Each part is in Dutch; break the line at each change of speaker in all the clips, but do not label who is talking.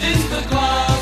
Sinterklaas,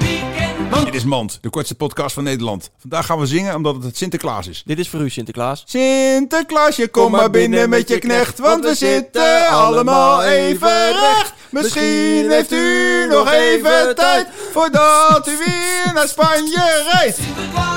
weekend.
Dit is Mand, de kortste podcast van Nederland. Vandaag gaan we zingen omdat het Sinterklaas is.
Dit is voor u, Sinterklaas.
Sinterklaasje, kom maar binnen met je knecht, want we zitten allemaal even recht. Misschien heeft u nog even tijd voordat u weer naar Spanje reist.
Sinterklaas.